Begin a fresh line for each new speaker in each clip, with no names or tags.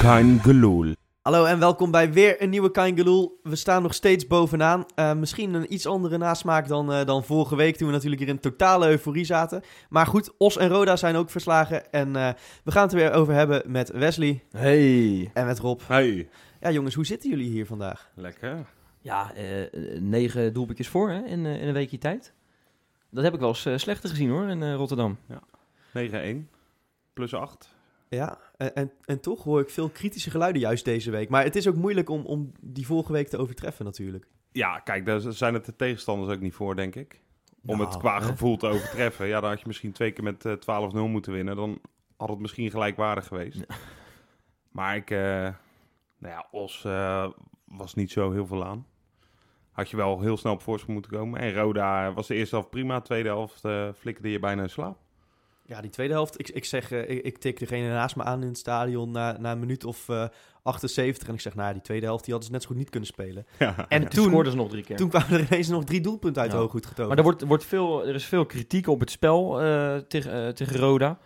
Kein Geloel.
Hallo en welkom bij weer een nieuwe Kein Geloel. We staan nog steeds bovenaan. Eh, misschien een iets andere nasmaak dan, eh, dan vorige week toen we natuurlijk hier in totale euforie zaten. Maar goed, Os en Roda zijn ook verslagen en eh, we gaan het er weer over hebben met Wesley
Hey.
en met Rob.
Hey.
Ja jongens, hoe zitten jullie hier vandaag?
Lekker.
Ja, eh, eh, negen doelpuntjes voor hè, in, eh, in een weekje tijd. Dat heb ik wel eens eh, slechter gezien hoor, in eh, Rotterdam.
9-1. Plus 8.
Ja, en, en, en toch hoor ik veel kritische geluiden juist deze week. Maar het is ook moeilijk om, om die vorige week te overtreffen natuurlijk.
Ja, kijk, daar z- zijn het de tegenstanders ook niet voor, denk ik. Om
Nou,
het qua
hè?
gevoel te overtreffen. Ja, dan had je misschien twee keer met eh, 12-0 moeten winnen. Dan had het misschien gelijkwaardig geweest. Maar ik... eh, nou ja, Os eh, was niet zo heel veel aan. Had je wel heel snel op voorsprong moeten komen. En Roda was de eerste helft prima. Tweede helft eh, flikkerde je bijna in slaap.
Ja, die tweede helft. Ik, ik zeg, eh, ik, ik tik degene naast me aan in het stadion na, na een minuut of eh, 78. En ik zeg, nou, die tweede helft die hadden ze net zo goed niet kunnen spelen.
Ja.
En
Ja,
toen,
scoorden ze nog drie keer.
toen kwamen er ineens nog drie doelpunten uit
Ja.
de hooghoed getogen.
Maar er, wordt, wordt veel, er is veel kritiek op het spel eh, tegen, eh, tegen Roda.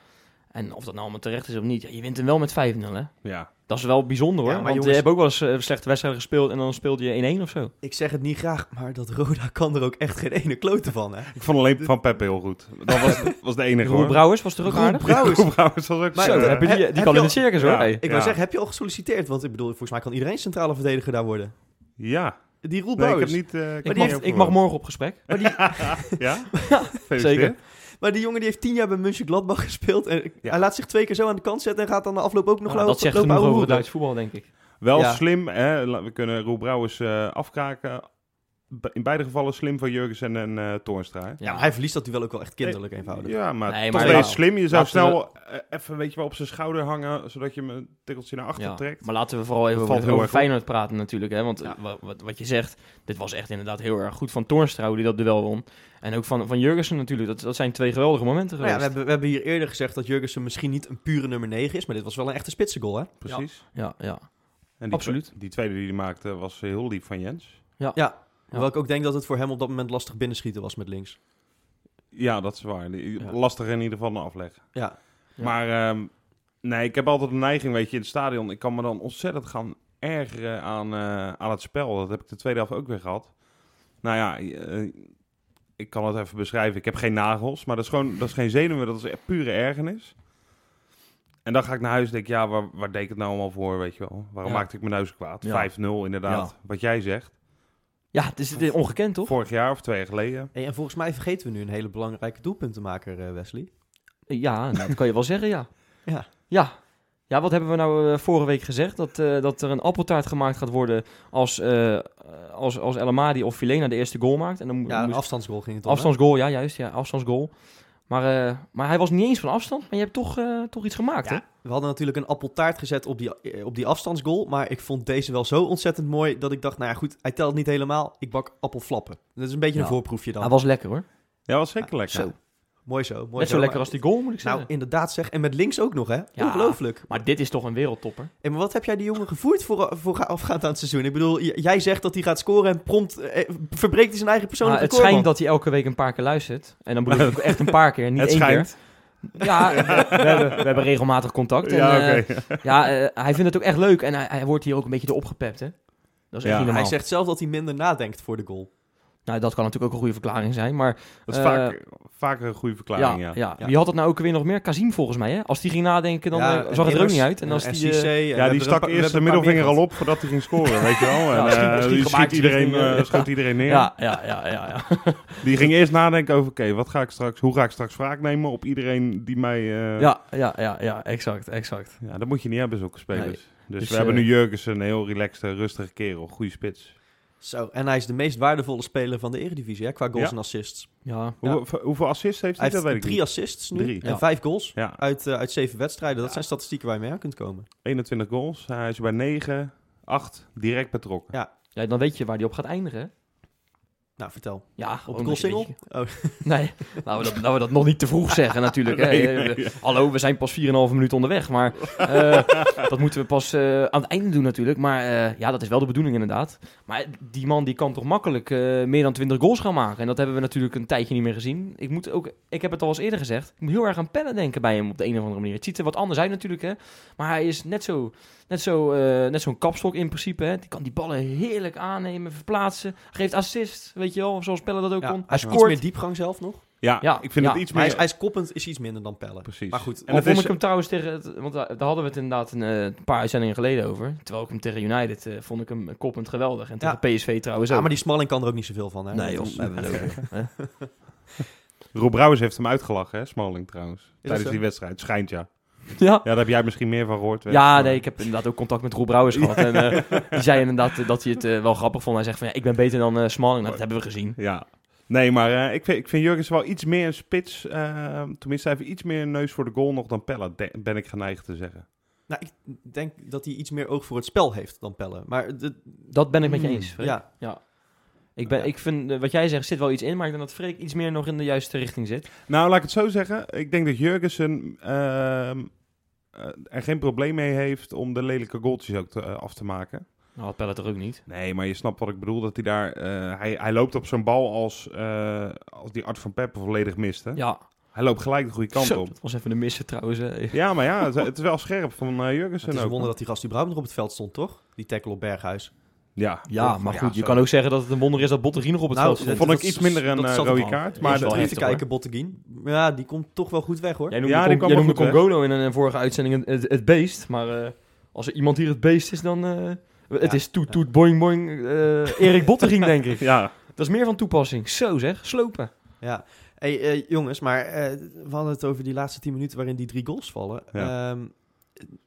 En of dat nou allemaal terecht is of niet, ja, je wint hem wel met 5-0 hè.
ja.
Dat is wel bijzonder hoor,
Ja, maar
want je
jongens-
hebt ook wel eens eh, slechte wedstrijden gespeeld en dan speelde je 1-1 of zo.
Ik zeg het niet graag, maar dat Roda kan er ook echt geen ene klote van, hè?
Ik vond alleen van Peppe heel goed. Dat was, was de enige
Roel
hoor.
Brouwers was er ook
Roel
aardig.
Brouwers.
Roel Brouwers was ook
Maar-
zo.
Zo,
eh,
heb je die, die
heb
kan
je
in het circus hoor.
Ja.
hey.
Ik wou
Ja.
zeggen, heb je al gesolliciteerd? Want ik bedoel, volgens mij kan iedereen centrale verdediger daar worden.
Ja,
Die Roel
nee, ik heb
Brouwers.
niet... eh,
Ik,
heb niet
mag, ik mag
opgewonden.
morgen op gesprek.
Maar, die,
Ja?
Zeker.
Zeker.
maar die jongen die heeft tien jaar bij München Gladbach gespeeld. En
Ja.
hij laat zich twee keer zo aan de kant zetten en gaat dan de afloop ook nog
Nou, dat zegt
lopen
genoeg over
ouwehoeren.
het Duits voetbal denk ik.
Wel
Ja.
slim, hè? La- We kunnen Roel Brouwers eh, afkraken. Be- In beide gevallen slim van Jurgensen en eh Toornstra. hè?
Ja, maar hij verliest dat duel ook wel echt kinderlijk eenvoudig.
Ja, maar,
Nee,
toch
maar
wel
ja.
slim. Je zou
Laten
snel eh, even weet je wel, op zijn schouder hangen, zodat je hem een tikkeltje naar achter
Ja,
trekt.
Maar laten we vooral even
Dat
over,
valt heel
over
erg op.
Feyenoord praten natuurlijk. Hè? Want
Ja.
wa- wat, wat je zegt, dit was echt inderdaad heel erg goed van Toornstra hoe die dat duel won. En ook van, van Jurgensen natuurlijk. Dat, dat zijn twee geweldige momenten
Nou ja,
geweest.
we,
Ja,
hebben, we hebben hier eerder gezegd dat Jurgensen misschien niet een pure nummer 9 is, maar dit was wel een echte spitsengoal, hè?
Precies.
ja,
En die,
Absoluut.
twe- Die tweede die hij maakte was heel lief van Jens.
Hoewel ik ook denk dat het voor hem op dat moment lastig binnenschieten was met links.
Ja, dat is waar. Die-
Ja.
Lastig in ieder geval een afleg.
Ja,
Ja.
Maar ehm, nee, ik heb altijd een neiging, weet je, in het stadion. Ik kan me dan ontzettend gaan ergeren aan, eh, aan het spel. Dat heb ik de tweede helft ook weer gehad. Nou ja, eh, ik kan het even beschrijven. Ik heb geen nagels, maar dat is gewoon dat is geen zenuwen. Dat is echt pure ergernis. En dan ga ik naar huis en denk, ja, waar, waar deed ik het nou allemaal voor, weet je wel? Waarom
Ja.
maakte ik me nou zo kwaad?
Ja.
5-0 inderdaad, wat jij zegt.
ja het is het is ongekend toch?
Vorig jaar of twee jaar geleden.
Hey, en volgens mij vergeten we nu een hele belangrijke doelpuntenmaker, eh, Wesley.
Ja, nou, dat kan je wel zeggen, ja.
Ja.
Ja. Ja, wat hebben we nou eh, vorige week gezegd? Dat, eh, dat er een appeltaart gemaakt gaat worden als, eh als, als El Amadi of Filena de eerste goal maakt. En dan mo-
Ja, een
moest-
afstandsgoal ging het om. hè?
afstandsgoal, ja juist, ja, afstandsgoal. Maar, eh, maar hij was niet eens van afstand, maar je hebt toch, eh, toch iets gemaakt, hè?
Ja, we hadden natuurlijk een appeltaart gezet op die, eh, op die afstandsgoal, maar ik vond deze wel zo ontzettend mooi dat ik dacht, nou ja goed, hij telt niet helemaal, ik bak appelflappen. Dat is een beetje een
Ja.
voorproefje dan.
Nou, Hij was lekker hoor.
Ja, was zeker lekker.
Ah, Zo.
Mooi zo, mooi
Net zo
maar-
lekker als die goal, moet ik zeggen.
Nou, inderdaad zeg, en met links ook nog, hè?
Ja.
Ongelooflijk.
maar dit is toch een wereldtopper?
Hey, maar wat heb jij die jongen gevoerd voor, eh, voor afgaand aan het seizoen? Ik bedoel, j- jij zegt dat hij gaat scoren en prompt eh, verbreekt hij zijn eigen
Nou,
persoonlijke
het
record.
schijnt dat hij elke week een paar keer luistert. En dan bedoel ik echt een paar keer, niet
Het
één
schijnt.
keer. Ja, we, we hebben, we hebben regelmatig contact. En,
Ja,
ja,
oké.
ja eh, hij vindt het ook echt leuk. En hij, hij wordt hier ook een beetje door opgepept, hè? Dat is echt
Ja.
niet normaal.
Hij zegt zelf dat hij minder nadenkt voor de goal.
Nou, dat kan natuurlijk ook een goede verklaring zijn. Maar
Dat is
eh,
vaak, vaak een goede verklaring, ja.
ja, ja.
Ja.
wie had het nou ook weer nog meer? Kazim volgens mij, hè? Als die ging nadenken, dan
Ja,
eh, zag het er ook
immers,
niet uit. En als
eh,
die, eh,
FCC, en we
Ja,
hebben
die
er een
stak
paar- we
eerst
hebben
de
een paar
middelvinger
meer
al op voordat hij ging scoren, weet je wel. En,
Ja, misschien-
eh,
misschien
die
gemaakt
schiet iedereen,
richting, eh,
eh, schoot iedereen neer.
ja, ja, ja, ja, ja.
Die ging eerst nadenken over, oké, wat ga ik straks, hoe ga ik straks wraak nemen op iedereen die mij... eh, ja.
ja, ja, ja, ja, exact, exact.
dat moet je niet hebben, zulke spelers.
Nee.
Dus,
Dus,
we hebben
eh,
nu Jurgensen, een heel relaxte, rustige kerel, goede spits.
van. Zo, en hij is de meest waardevolle speler van de Eredivisie, hè, qua goals
Ja.
en assists.
Ja,
Hoeveel- v- hoeveel assists heeft hij?
Hij heeft
dat weet ik
drie
niet.
assists nu
Drie.
en
Ja.
vijf goals
Ja,
uit, eh, uit zeven wedstrijden. Dat
Ja.
zijn statistieken waar je mee aan kunt komen.
21 goals. Hij is bij 9, 8 direct betrokken.
Ja.
ja, dan weet je waar die op gaat eindigen, hè?
Nou, vertel.
Ja,
Op
gewoon
de
een
goalsingel?
beetje-
Oh,
Nee, laten we, dat, laten we dat nog niet te vroeg zeggen natuurlijk. hè.
Nee, nee,
Eh, Hallo, we zijn pas 4,5 minuten onderweg. Maar eh, dat moeten we pas eh, aan het einde doen natuurlijk. Maar eh, ja, dat is wel de bedoeling inderdaad. Maar die man die kan toch makkelijk eh, meer dan 20 goals gaan maken. En dat hebben we natuurlijk een tijdje niet meer gezien. Ik, moet ook, ik heb het al eens eerder gezegd. Ik moet heel erg aan pennen denken bij hem op de een of andere manier. Het ziet er wat anders uit natuurlijk. Hè? Maar hij is net zo'n net zo, eh, net zo'n kapstok in principe. Hè? Die kan die ballen heerlijk aannemen, verplaatsen. Geeft assist, weet je wel. Zoals Pelle dat ook
ja.
kon.
Hij
Hij
is iets
scoort.
meer diepgang zelf nog. Maar
Ja,
Ja,
ik vind
ja.
het iets
hij, is,
meer...
hij is koppend, is iets minder dan Pelle.
Precies.
Maar goed,
En
Al
het
vond
is-
ik hem trouwens tegen... het- want daar daar hadden we het inderdaad een, eh, een paar uitzendingen geleden over. Terwijl ik hem tegen United eh, vond ik hem koppend geweldig. En tegen PSV trouwens
ja,
ook.
maar die Smalling kan er ook niet zoveel van, hè?
Nee, joh. daar hebben we het over. Hè?
Rob Brouwers heeft hem uitgelachen, hè, Smalling trouwens. Tijdens
zo?
die wedstrijd. Schijnt, ja.
Ja.
Ja, daar heb jij misschien meer van gehoord. weet
Ja,
maar-
nee, ik heb inderdaad ook contact met Roel Brouwers gehad. En eh, die zei inderdaad eh, dat hij het eh, wel grappig vond. Hij zegt van, ja, ik ben beter dan eh Smalling. Nou, dat hebben we gezien.
Ja. Nee, maar eh, ik vind, ik vind Jurgens wel iets meer een spits. eh, tenminste, hij heeft iets meer een neus voor de goal nog dan Pelle, de- ben ik geneigd te zeggen.
Nou, ik denk dat hij iets meer oog voor het spel heeft dan Pelle. Maar de-
Dat ben ik met je
Hmm,
eens. Freek.
ja,
Ik, ben,
Ja.
ik vind, eh, wat jij zegt, zit wel iets in. Maar ik denk dat Freek iets meer nog in de juiste richting zit.
Nou, laat ik het zo zeggen. Ik denk dat Jurgensen ehm, eh, er geen probleem mee heeft om de lelijke goaltjes ook te, eh, af te maken.
Nou, had Pelle toch ook niet.
Nee, maar je snapt wat ik bedoel. Dat hij daar. eh, hij, hij loopt op zijn bal als, eh, als die Art van Peppe volledig miste.
Ja.
Hij loopt gelijk de goede kant
Zo,
op.
Dat was even de missen trouwens. eh. hè.
Ja, maar ja, het, het is wel scherp van eh,
het is
Jurgensen
een
ook.
wonder dat die gast überhaupt nog op het veld stond, toch? Die tackle op Berghuis.
Ja,
Ja, maar goed, je
zo.
kan ook zeggen dat het een wonder is dat Bottegien nog op het
Nou,
veld stond.
Vond ik
dat-
iets minder een
dat
eh,
zat
rode
hem al.
kaart.
Dat
Maar
is wel
dat-
Even
heftig,
te kijken, Botteguin. Ja, die komt toch wel goed weg, hoor.
Jij noemde,
Ja,
Con-
die kwam
jij
wel
noemde
goed
Congolo in een, een vorige uitzending het, het beest. Maar eh, als er iemand hier het beest is, dan... eh, het
Ja.
is toet, toet, boing, boing. eh, Erik Bottegien, denk ik.
ja,
Dat is meer van toepassing. Zo zeg, slopen.
Ja. Hey, eh, jongens, maar eh, we hadden het over die laatste 10 minuten waarin die drie goals vallen.
Ja.
Ja,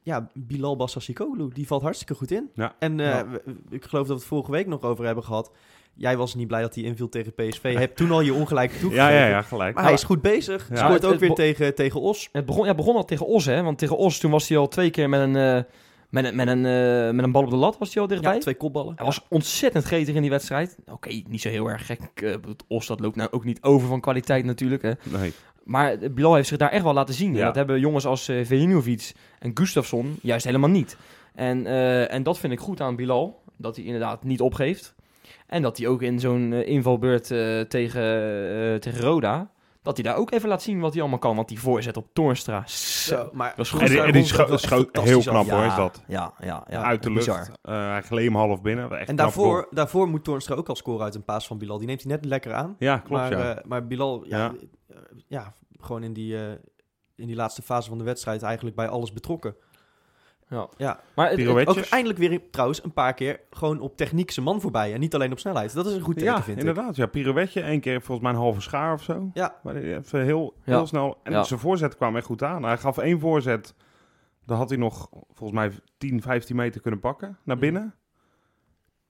ja Bilal Bassasikoglu, die valt hartstikke goed in.
Ja.
En eh,
Ja.
we- ik geloof dat we het vorige week nog over hebben gehad. Jij was niet blij dat hij inviel tegen PSV. Je hebt toen al je ongelijk
ja,
toegegeven.
ja, ja, gelijk.
Maar hij is goed bezig.
Ja.
Het-
Scoort ook
het
weer
bo-
tegen, tegen Os.
Het begon, ja, het begon al tegen Os, hè? Want tegen Os, toen was hij al twee keer met een, eh, met een, met een, eh, met een bal op de lat was hij al dichtbij.
Ja, twee kopballen.
Hij was ontzettend gretig in die wedstrijd. Oké, niet zo heel erg gek. Eh, want Os, dat loopt nou ook niet over van kwaliteit natuurlijk. Hè.
Nee.
Maar eh, Bilal heeft zich daar echt wel laten zien. En
Ja.
Dat hebben jongens als eh Vejinovic en Gustafsson juist helemaal niet. En, eh, en dat vind ik goed aan Bilal. Dat hij inderdaad niet opgeeft. En dat hij ook in zo'n eh, invalbeurt eh, tegen, eh, tegen Roda... dat hij daar ook even laat zien wat hij allemaal kan. Want die voorzet op Toornstra.
Zo, maar
Dat is goed.
En die, en die
Rond- dat
scho
was echt
schoot heel
fantastisch
knap
af.
hoor, is dat.
Ja, ja, ja.
Uit de lucht.
Bizar.
Eh, hij gleed hem half binnen. Echt
En
knap goal.
daarvoor, daarvoor moet Toornstra ook al scoren uit een paas van Bilal. Die neemt hij net lekker aan.
Ja, klopt
maar,
ja.
eh, maar Bilal, ja,
Ja.
eh, ja, gewoon in die, eh, in die laatste fase van de wedstrijd eigenlijk bij alles betrokken.
Ja.
Ja,
Maar het- het-
Pirouetjes.
ook eindelijk weer trouwens een paar keer gewoon op techniek zijn man voorbij. En niet alleen op snelheid. Dat is een goed teken,
ja,
vind
inderdaad. Ja, pirouetje. Eén keer volgens mij een halve schaar of zo.
Ja.
Maar die- even heel,
Ja.
heel snel. En
Ja.
zijn voorzet kwam echt goed aan. Hij gaf één voorzet. Dan had hij nog volgens mij 10, 15 meter kunnen pakken
Mhm.
naar binnen.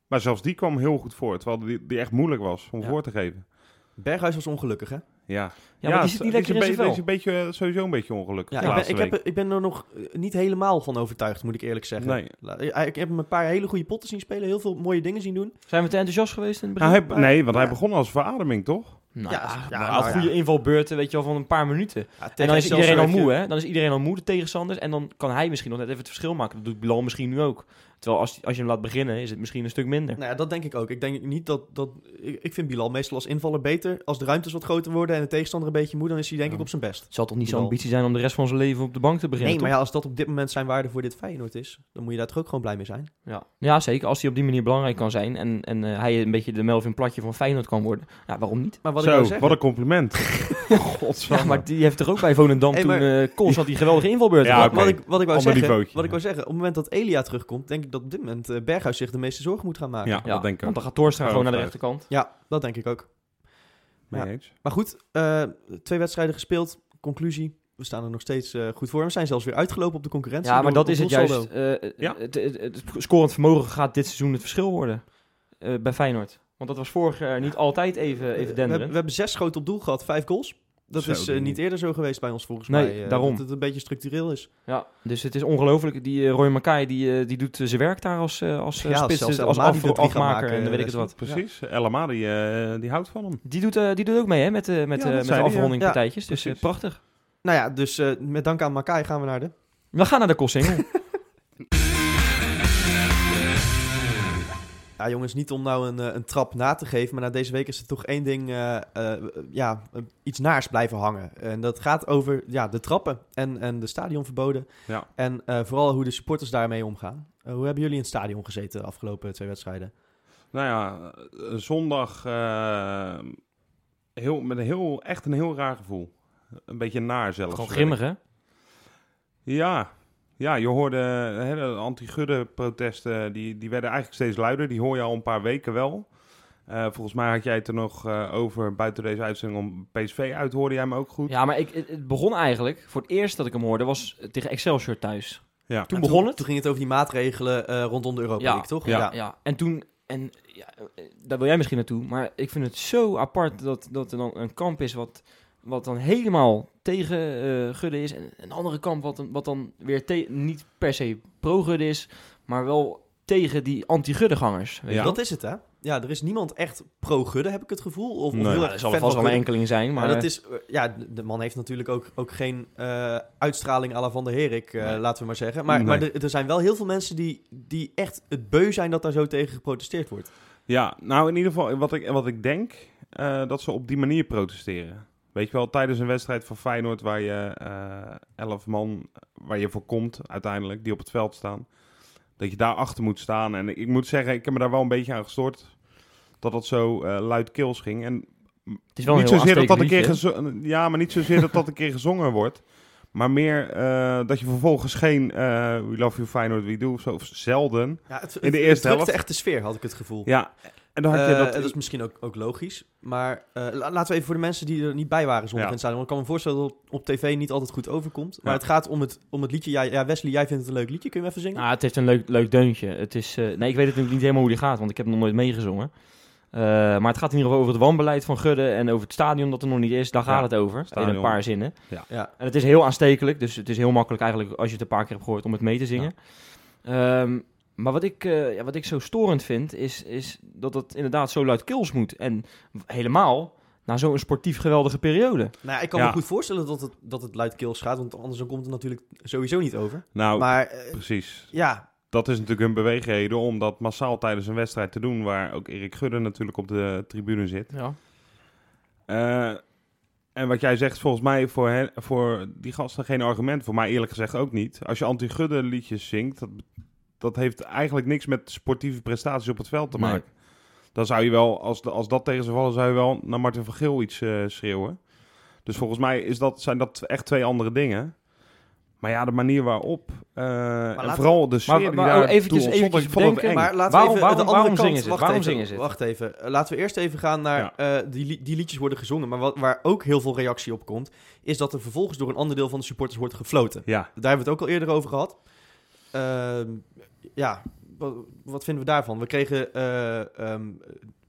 Maar zelfs die kwam heel goed voor. Terwijl die, die echt moeilijk was om
Ja.
voor te geven.
ik. Berghuis was ongelukkig, hè?
Ja,
ja, maar die zit
het-
niet
het is
lekker in
een
zijn
be-
vel.
het is een beetje, eh, sowieso een beetje ongelukkig.
Ja,
de
ik, ben,
laatste
ik, heb,
week.
ik ben er nog eh, niet helemaal van overtuigd, moet ik eerlijk zeggen.
Nee.
La- eh, Ik heb hem een paar hele goede potten zien spelen, heel veel mooie dingen zien doen.
Zijn we te enthousiast geweest in het
Nou,
begin?
hij, nee, want hij
Ja.
begon als verademing, toch?
Nou,
Ja,
ja,
ja,
maar
nou
had goede
ja.
invalbeurten, weet je wel, van een paar minuten.
Ja,
En
tegen
dan is
Excelsior
iedereen al
heeft
moe, hè? Dan is iedereen al moe, de tegenstanders. En dan kan hij misschien nog net even het verschil maken. Dat doet Bilal misschien nu ook. Terwijl als, als je hem laat beginnen, is het misschien een stuk minder.
Nou ja, dat denk ik ook. Ik denk niet dat... dat ik, ik vind Bilal meestal als invaller beter. Als de ruimtes wat groter worden en de tegenstander een beetje moe, dan is hij denk
Ja.
ik op zijn best.
Het zal toch niet zijn
Bilal.
ambitie zijn om de rest van zijn leven op de bank te beginnen,
Nee, maar ja, als dat op dit moment zijn waarde voor dit Feyenoord is, dan moet je daar toch ook gewoon blij mee zijn.
toch? ja. ja, zeker. Als hij op die manier belangrijk kan zijn en, en eh, hij een beetje de Melvin Platje van Feyenoord kan worden. Ja, waarom niet?
Maar wat
Zo,
ik nou zeg,
wat een compliment.
Ja,
Godsamme.
maar die heeft toch ook bij Volendam
Hey,
toen eh constant die geweldige invalbeurten
Ja,
gehad?
wat,
oké.
wat ik, wat, ik wou
Ander
zeggen
niveautje.
wat ik wou zeggen, op het moment dat Elia terugkomt, denk ik dat op dit moment eh, Berghuis zich de meeste zorgen moet gaan maken.
Ja, dat denk ik
Want
ook. Oh,
dan gaat Torstra
Ja,
gewoon naar de
feit.
rechterkant.
Ja, dat denk ik ook.
Mee
Ja.
eens.
Maar goed, eh, twee wedstrijden gespeeld, conclusie, we staan er nog steeds eh, goed voor. We zijn zelfs weer uitgelopen op de concurrentie.
Ja, maar
door-
dat is
door
het juist.
doelsaldo.
eh,
Ja.
het, het- het scorend vermogen gaat dit seizoen het verschil worden eh, bij Feyenoord. Want dat was vorig jaar niet altijd even, even
Eh, we,
denderend.
we hebben zes schoten op doel gehad, vijf goals. Dat
Zo,
is eh,
die-
niet eerder zo geweest bij ons volgens
Nee,
mij. eh,
daarom.
Dat het een beetje structureel is.
Ja, dus het is ongelooflijk. Die eh, Roy Makai die, eh, die doet eh, zijn werk daar als, eh, als eh,
Ja,
spits,
zelfs
dus als
Elma die
af-
de drie gaat
afmaker
maken,
en dan weet ik
eh,
het wat. Ja.
Precies. Elma, die, eh, die houdt van hem.
Die, doet, eh, die doet ook mee hè, met, eh, met,
Ja,
eh,
dat
met de
zei hij, ja.
afrondingpartijtjes. Dus eh,
precies.
prachtig.
Nou ja, dus eh, met dank aan Makai gaan we naar de...
We gaan naar de Kossingel.
Ja, jongens, niet om nou een, eh, een trap na te geven, maar na deze week is er toch één ding, eh, eh, ja, eh, iets naars blijven hangen. En dat gaat over ja, de trappen en, en de stadionverboden.
Ja.
En eh, vooral hoe de supporters daarmee omgaan. Eh, hoe hebben jullie in het stadion gezeten de afgelopen twee wedstrijden?
Nou ja, eh, zondag eh, heel, met een heel, echt een heel raar gevoel. Een beetje naar zelfs.
Gewoon grimmig hè?
Ja. ja, je hoorde eh, hè, de anti-gudde-protesten, die, die werden eigenlijk steeds luider. Die hoor je al een paar weken wel. Eh, volgens mij had jij het er nog eh, over buiten deze uitzending om PSV uit, hoorde jij hem ook goed.
Ja, maar ik, het- het begon eigenlijk, voor het eerst dat ik hem hoorde, was tegen Excelsior thuis.
Ja.
Toen
En
begon het.
Toen ging het over die maatregelen eh, rondom de Europa
Ja,
League, toch?
ja.
Ja, en toen, en ja, eh, daar wil jij misschien naartoe, maar ik vind het zo apart dat, dat er dan een kamp is wat, wat dan helemaal tegen eh, Gudde is. En een andere kamp wat, dan- wat dan weer te- niet per se pro-Gudde is, maar wel tegen die anti-Guddegangers.
Ja.
Dat is het, hè? Ja, er is niemand echt pro-gudde, heb ik het gevoel. Of, of
Nee.
heel
Ja,
erg
Ja, er zal
fan
vast
van
wel een
Gudde.
enkeling zijn, maar...
Maar dat is, eh, ja, de- de man heeft natuurlijk ook, ook geen eh, uitstraling à la Van der Herik, eh,
Nee.
laten we maar zeggen. Maar,
Nee.
maar er, er zijn wel heel veel mensen die, die echt het beu zijn dat daar zo tegen geprotesteerd wordt.
Ja, nou in ieder geval, wat ik, wat ik denk, eh, dat ze op die manier protesteren. Weet je wel, tijdens een wedstrijd van Feyenoord waar je eh elf man, eh, waar je voor komt uiteindelijk, die op het veld staan. Dat je daar achter moet staan. En ik moet zeggen, ik heb me daar wel een beetje aan gestoord. Dat dat zo eh, luidkeels ging. En
het is wel
niet
een heel
zozeer dat dat een keer
aanstekelijk
gezo- eh, ja, maar niet zozeer dat dat een keer gezongen wordt. Maar meer eh, dat je vervolgens geen eh We Love You Feyenoord We Do of zo, of zelden.
Ja, het,
de eerste
drukte
helft.
echt de sfeer, had ik het gevoel.
Ja, en dan had je
Eh,
dat...
dat is misschien ook, ook logisch. Maar eh, la- laten we even voor de mensen die er niet bij waren zondag
Ja.
in het stadion. Want ik kan me voorstellen dat het op tv niet altijd goed overkomt. Maar
Ja.
het gaat om het, om het liedje. Ja, ja, Wesley, jij vindt het een leuk liedje. Kun je hem even zingen?
Ah, het heeft een leuk, leuk deuntje. Het is, eh, nee, ik weet natuurlijk niet helemaal hoe die gaat, want ik heb nog nooit meegezongen. Eh, maar het gaat in ieder geval over het wanbeleid van Gudde en over het stadion dat er nog niet is. Daar gaat
Ja,
het over, in een
stadion.
paar zinnen.
Ja.
Ja.
En het is heel aanstekelijk, dus het is heel makkelijk eigenlijk als je het een paar keer hebt gehoord om het mee te zingen. Ehm, maar wat ik, eh, ja, wat ik zo storend vind, is, is dat het inderdaad zo luidkeels moet. En w- helemaal na zo'n sportief geweldige periode.
Nou ja, ik kan
Ja.
me goed voorstellen dat het, dat het luidkeels gaat. Want anders dan komt het natuurlijk sowieso niet over.
nou,
Maar eh,
precies.
ja,
dat is natuurlijk hun beweegreden om dat massaal tijdens een wedstrijd te doen, waar ook Erik Gudde natuurlijk op de tribune zit.
Ja.
Eh, en wat jij zegt, volgens mij voor, hen, voor die gasten geen argument, voor mij eerlijk gezegd ook niet. Als je anti-Gudde liedjes zingt, dat, dat heeft eigenlijk niks met sportieve prestaties op het veld te
Nee.
maken. Dan zou je wel, als, de- als dat tegen ze vallen, zou je wel naar Martin van Geel iets eh, schreeuwen. Dus volgens mij is dat, zijn dat echt twee andere dingen. Maar ja, de manier waarop. eh, en
laten-
vooral de sfeer
Maar-
die
maar
oh,
daar
ook eventjes-
toe ontstond,
eventjes
ik vond het
bedenken,
eng.
Maar laten
Waarom-
we even
waarom-
de andere
waarom
kant...
zingen ze het?
wacht
Waarom
even,
zingen ze het?
Wacht even. Eh, laten we eerst even gaan naar... eh, die, li- die liedjes worden gezongen, maar wat, waar ook heel veel reactie op komt... is dat er vervolgens door een ander deel van de supporters wordt gefloten.
Ja,
Daar hebben we het ook al eerder over gehad. Ehm, ja, wat, wat vinden we daarvan? We kregen... eh, ehm,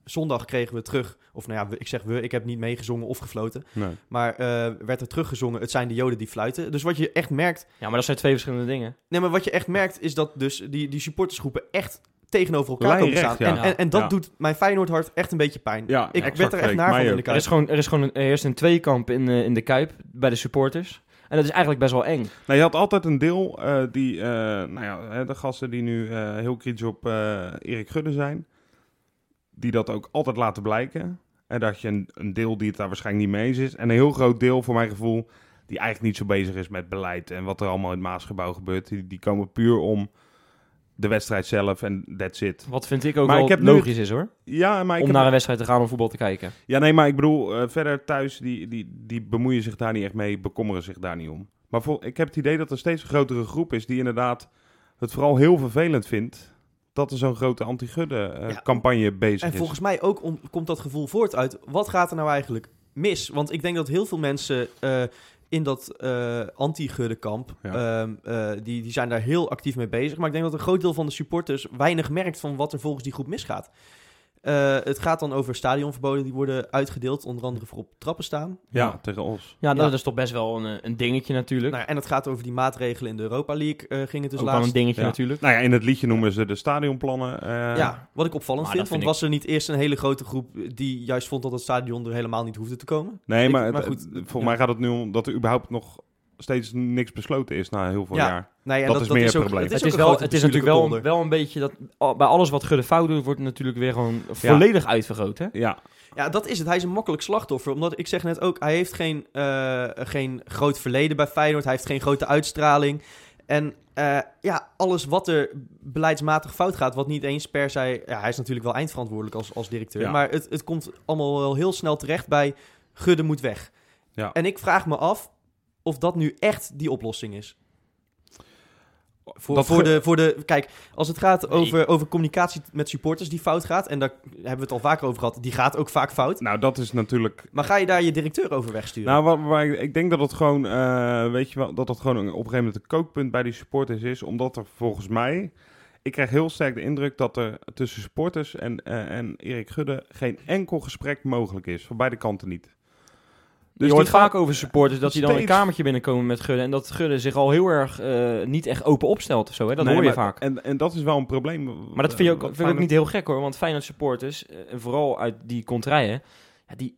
zondag kregen we terug... Of nou ja, we- ik zeg we, ik heb niet meegezongen of gefloten.
nee.
Maar eh, werd er teruggezongen, het zijn de joden die fluiten. Dus wat je echt merkt...
ja, maar dat zijn twee verschillende dingen.
Nee, maar wat je echt merkt is dat dus die, die supportersgroepen echt tegenover elkaar
Lijnrecht,
komen staan.
ja.
En, en, en dat
Ja.
doet mijn Feyenoord hart echt een beetje pijn.
Ja,
ik
exact,
werd er echt
Freek.
naar van
Mij
in de
ook.
Er
kaart.
is gewoon, er is gewoon een, er heerst een tweekamp in, eh, in de Kuip bij de supporters. En dat is eigenlijk best wel eng.
Nou, je had altijd een deel eh, die, eh, nou ja, hè, de gasten die nu eh, heel kritisch op eh, Erik Gudde zijn, die dat ook altijd laten blijken. En dat je een, een deel die het daar waarschijnlijk niet mee eens is. En een heel groot deel, voor mijn gevoel, die eigenlijk niet zo bezig is met beleid en wat er allemaal in het Maasgebouw gebeurt. Die, die komen puur om de wedstrijd zelf en that's it.
Wat vind ik ook
Maar
wel
ik heb nu
logisch is hoor.
Ja, maar ik
om
heb-
naar een wedstrijd te gaan om voetbal te kijken.
Ja, nee, maar ik bedoel, eh, verder thuis, die, die, die bemoeien zich daar niet echt mee, bekommeren zich daar niet om. Maar vol- ik heb het idee dat er steeds een grotere groep is die inderdaad het vooral heel vervelend vindt dat er zo'n grote
Ja.
anti-Gudde-campagne bezig
En
is.
volgens mij ook om- komt dat gevoel voort uit. Wat gaat er nou eigenlijk mis? Want ik denk dat heel veel mensen eh, in dat eh anti-guddenkamp,
Ja.
ehm, eh, die, die zijn daar heel actief mee bezig. Maar ik denk dat een groot deel van de supporters weinig merkt van wat er volgens die groep misgaat. Eh, Eh, het gaat dan over stadionverboden die worden uitgedeeld, onder andere voor op trappen staan.
Ja, tegen ons.
Ja, nou, dat
Ja.
is toch best wel een, eh, een dingetje natuurlijk.
Nou, ja, en het gaat over die maatregelen in de Europa League, eh, ging het dus
ook wel
laatst.
een dingetje
Ja.
natuurlijk.
Nou ja, in het liedje noemen ze de stadionplannen. eh,
Ja, wat ik opvallend
Maar
vind,
dat
want
vind
was er niet eerst een hele grote groep die juist vond dat het stadion er helemaal niet hoefde te komen?
Nee,
Ik-
maar, het-
maar goed,
het- volgens mij gaat het nu om dat er überhaupt nog steeds niks besloten is na heel veel
Ja.
jaar.
Nee, ja,
Dat is meer het
ook-
probleem.
Het
ook
is,
een
wel,
grote
het is natuurlijk
bestuurlijke donder.
wel, wel een beetje dat al- bij alles wat Gudde fout doet, wordt het natuurlijk weer gewoon volledig uitvergroot. Hè?
Ja,
Ja, dat is het. Hij is een makkelijk slachtoffer. Omdat ik zeg net ook, hij heeft geen, eh, geen groot verleden bij Feyenoord. Hij heeft geen grote uitstraling. En eh, ja, alles wat er beleidsmatig fout gaat, wat niet eens per se... Ja, hij is natuurlijk wel eindverantwoordelijk als, als directeur.
Ja.
Maar het, het komt allemaal wel heel snel terecht bij Gudde moet weg.
Ja.
En ik vraag me af of dat nu echt die oplossing is. Voor,
Dat
voor,
Gu-
de, voor de... Kijk, als het gaat
Nee.
over, over communicatie met supporters die fout gaat... en daar hebben we het al vaker over gehad, die gaat ook vaak fout...
nou dat is natuurlijk
Maar ga je daar je directeur over wegsturen?
Nou, waar, waar ik, ik denk dat het gewoon, eh, weet je wel, dat dat gewoon een- op een gegeven moment een kookpunt bij die supporters is. Omdat er volgens mij, ik krijg heel sterk de indruk dat er tussen supporters en, eh, en Erik Gudde geen enkel gesprek mogelijk is. Van beide kanten niet. Dus
je
die
hoort
gaan-
vaak over supporters dat die dan
steeds-
een kamertje binnenkomen met Gudde. En dat Gudde zich al heel erg eh, niet echt open opstelt of zo. Hè? Dat
Nee,
hoor je
maar-
vaak.
En, en dat is wel een probleem.
Maar dat vind je ook,
Eh,
vind ik ook niet heel gek hoor. Want Feyenoord supporters, eh, en vooral uit die contraien, ja, die,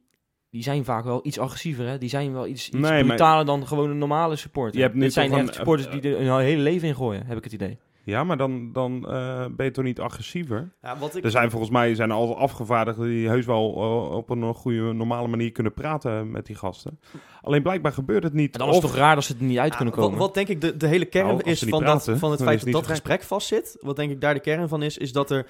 die zijn vaak wel iets agressiever. Hè? Die zijn wel iets, iets
Nee, maar-
brutaler dan gewoon een normale supporter.
Je hebt nu
Dit zijn
toch
echt
een-
supporters die er hun hele leven in gooien, heb ik het idee.
Ja, maar dan, dan eh, ben je toch niet agressiever?
ja, wat ik...
Er zijn volgens mij zijn er altijd afgevaardigden die heus wel eh, op een goede, normale manier kunnen praten met die gasten. Alleen blijkbaar gebeurt het niet.
En dan is het
Of-
toch raar dat ze er niet uit kunnen
Ja, Ah, wat-
komen.
Wat, denk ik de, de hele kern
Nou, als
is
ze niet
van, dat,
praten,
van het
dan
feit
is het
dat dat
niet zo
gesprek vastzit... wat denk ik daar de kern van is... is dat er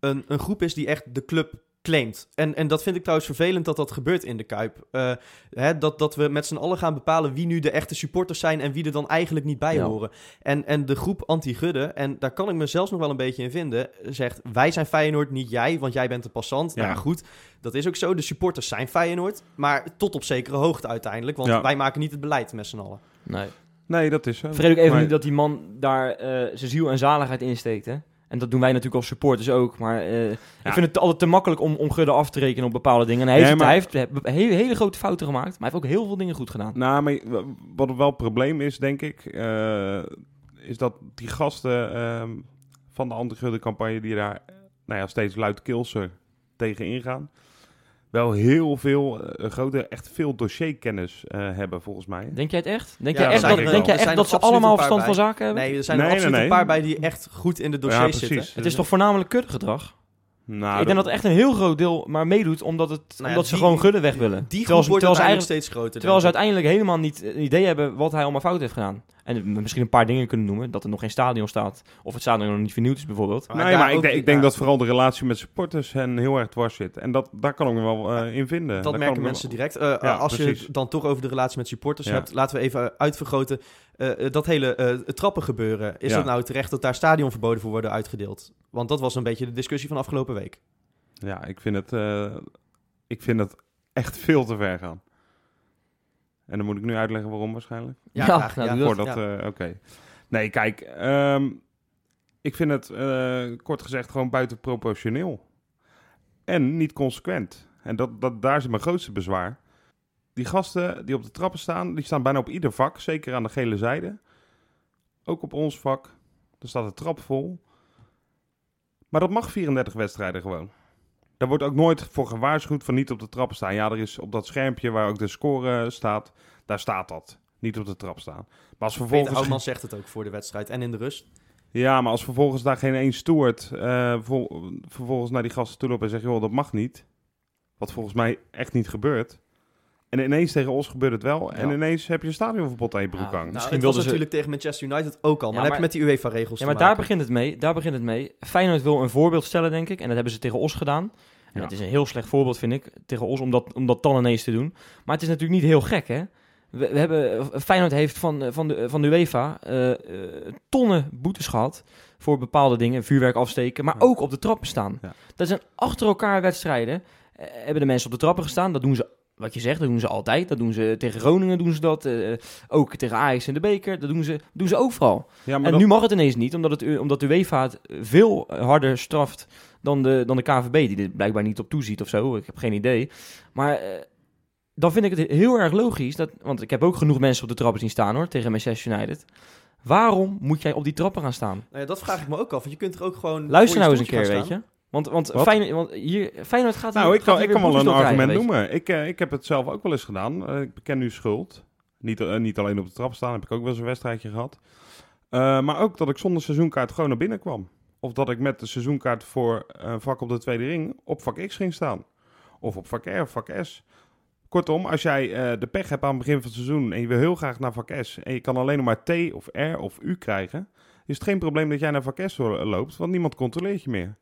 een, een groep is die echt de club claimt. En, en dat vind ik trouwens vervelend dat dat gebeurt in de Kuip. Eh, hè, dat, dat we met z'n allen gaan bepalen wie nu de echte supporters zijn... en wie er dan eigenlijk niet bij
Ja.
horen. En, en de groep anti-Gudde, en daar kan ik me zelfs nog wel een beetje in vinden... zegt wij zijn Feyenoord, niet jij, want jij bent een passant.
Ja.
Nou goed, dat is ook zo. De supporters zijn Feyenoord, maar tot op zekere hoogte uiteindelijk... want
Ja.
wij maken niet het beleid met z'n allen.
Nee.
Nee, dat is zo.
Vergeet ook even
Maar-
niet dat die man daar eh, zijn ziel en zaligheid insteekt, hè. En dat doen wij natuurlijk als supporters ook. Maar eh, ik vind het altijd te makkelijk om, om Gudde af te rekenen op bepaalde dingen. En hij
Nee,
heeft,
maar-
hij heeft he- hele, hele grote fouten gemaakt, maar hij heeft ook heel veel dingen goed gedaan.
Nou, maar w- wat wel het probleem is, denk ik, eh, is dat die gasten ehm, van de anti-gulden-campagne die daar eh, nou ja, steeds luidkeelser tegen ingaan, wel heel veel, eh, grote, echt veel dossierkennis eh, hebben, volgens mij.
Denk jij het echt? Denk
Ja,
jij echt
dat
dat,
denk ik
denk
wel.
jij
Er
echt
zijn
dat ze
absoluut
allemaal
een paar
verstand van
bij.
zaken hebben?
Nee, er zijn
Nee,
er
nee,
absoluut
nee.
een paar bij die echt goed in de dossiers
ja,
zitten.
precies.
Het is toch voornamelijk kuddegedrag?
Nou,
ik denk dat echt een heel groot deel maar meedoet omdat, het,
Nou ja,
omdat ze
die-
gewoon Gudde weg willen.
Die
terwijl
groep
ze,
wordt
terwijl ze
uiteindelijk
eigenlijk,
steeds groter.
terwijl ze
denk ik.
uiteindelijk helemaal niet eh, een idee hebben wat hij allemaal fout heeft gedaan. En misschien een paar dingen kunnen noemen. Dat er nog geen stadion staat. Of het stadion nog niet vernieuwd is bijvoorbeeld.
Nee, maar,
daar
ik,
ook-
denk- ik denk
ja,
dat vooral de relatie met supporters hen heel erg dwars zit. En dat, daar kan ik me wel eh, in vinden. Daar
Dat
kan ik
merken
me
mensen
wel-
direct. Eh,
Ja,
als je
precies.
het dan toch over de relatie met supporters
Ja.
hebt, laten we even uitvergroten. eh, eh, dat hele eh, trappen gebeuren. Is
Ja.
dat nou terecht dat daar stadionverboden voor worden uitgedeeld? Want dat was een beetje de discussie van afgelopen week.
Ja, ik vind het, eh, ik vind het echt veel te ver gaan. En dan moet ik nu uitleggen waarom waarschijnlijk.
Ja,
Ja,
graag,
nou,
ja.
doe
Voordat,
ja.
eh, oké. Nee, kijk, ehm, ik vind het eh, kort gezegd gewoon buitenproportioneel. En niet consequent. En dat, dat, daar zit mijn grootste bezwaar. Die gasten die op de trappen staan, die staan bijna op ieder vak, zeker aan de gele zijde. Ook op ons vak, er staat de trap vol. Maar dat mag 34 wedstrijden gewoon. Daar wordt ook nooit voor gewaarschuwd van niet op de trappen staan. Ja, er is op dat schermpje waar ook de score eh, staat, daar staat dat. Niet op de trap staan. Maar als
Peter
vervolgens...
Houtman zegt het ook voor de wedstrijd en in de rust.
Ja, maar als vervolgens daar geen één stoert, eh, vol- vervolgens naar die gasten toe loopt en zegt, joh, dat mag niet. Wat volgens mij echt niet gebeurt. En ineens tegen ons gebeurt het wel. En
Ja.
ineens heb je een stadionverbod aan je broek
Ja,
hangen.
Nou,
Misschien
het was
wilden ze-
natuurlijk tegen Manchester United ook al. Maar,
Ja,
dan
maar-
heb je met die UEFA-regels
Ja,
te
maar daar
maken.
begint het mee. Daar begint het mee. Feyenoord wil een voorbeeld stellen, denk ik. En dat hebben ze tegen Os gedaan. En
Ja.
dat is een heel slecht voorbeeld, vind ik, tegen Os, om dat, om dat dan ineens te doen. Maar het is natuurlijk niet heel gek, hè? We, we hebben, Feyenoord heeft van, eh, van, de, van de UEFA eh, eh, tonnen boetes gehad voor bepaalde dingen. Vuurwerk afsteken, maar
Ja.
ook op de trappen staan.
Ja.
Dat zijn achter elkaar wedstrijden. eh, hebben de mensen op de trappen gestaan. Dat doen ze, wat je zegt, dat doen ze altijd. Dat doen ze tegen Groningen, doen ze dat. eh, ook tegen Ajax en de Beker. Dat doen ze, doen ze overal
Ja, maar
en
dat-
nu mag het ineens niet, omdat, het, U- omdat de UEFA het veel harder straft dan de, dan de KVB, die er blijkbaar niet op toeziet of zo. Ik heb geen idee. Maar eh, dan vind ik het heel erg logisch, dat, want ik heb ook genoeg mensen op de trappen zien staan hoor, tegen Manchester United. Waarom moet jij op die trappen gaan staan?
Nou ja, dat vraag ik me ook af. Want je kunt er ook gewoon. voor
Luister nou eens een
stoeltje
keer,
gaan
weet
staan.
je. Want, want,
Wat?
Feyenoord, want hier, Feyenoord gaat
Nou,
hier-
ik kan,
gaat
ik
hier
kan
weer
wel een
boetes door
argument
krijgen, weet
noemen. Ik, eh, ik heb het zelf ook wel eens gedaan. Eh, ik beken nu schuld. Niet, eh, niet alleen op de trap staan, heb ik ook wel eens een wedstrijdje gehad. Eh, maar ook dat ik zonder seizoenkaart gewoon naar binnen kwam. Of dat ik met de seizoenkaart voor eh, vak op de tweede ring op vak X ging staan. Of op vak R of vak S. Kortom, als jij eh, de pech hebt aan het begin van het seizoen en je wil heel graag naar vak S en je kan alleen nog maar T of R of U krijgen, is het geen probleem dat jij naar vak S lo- loopt, want niemand controleert je meer.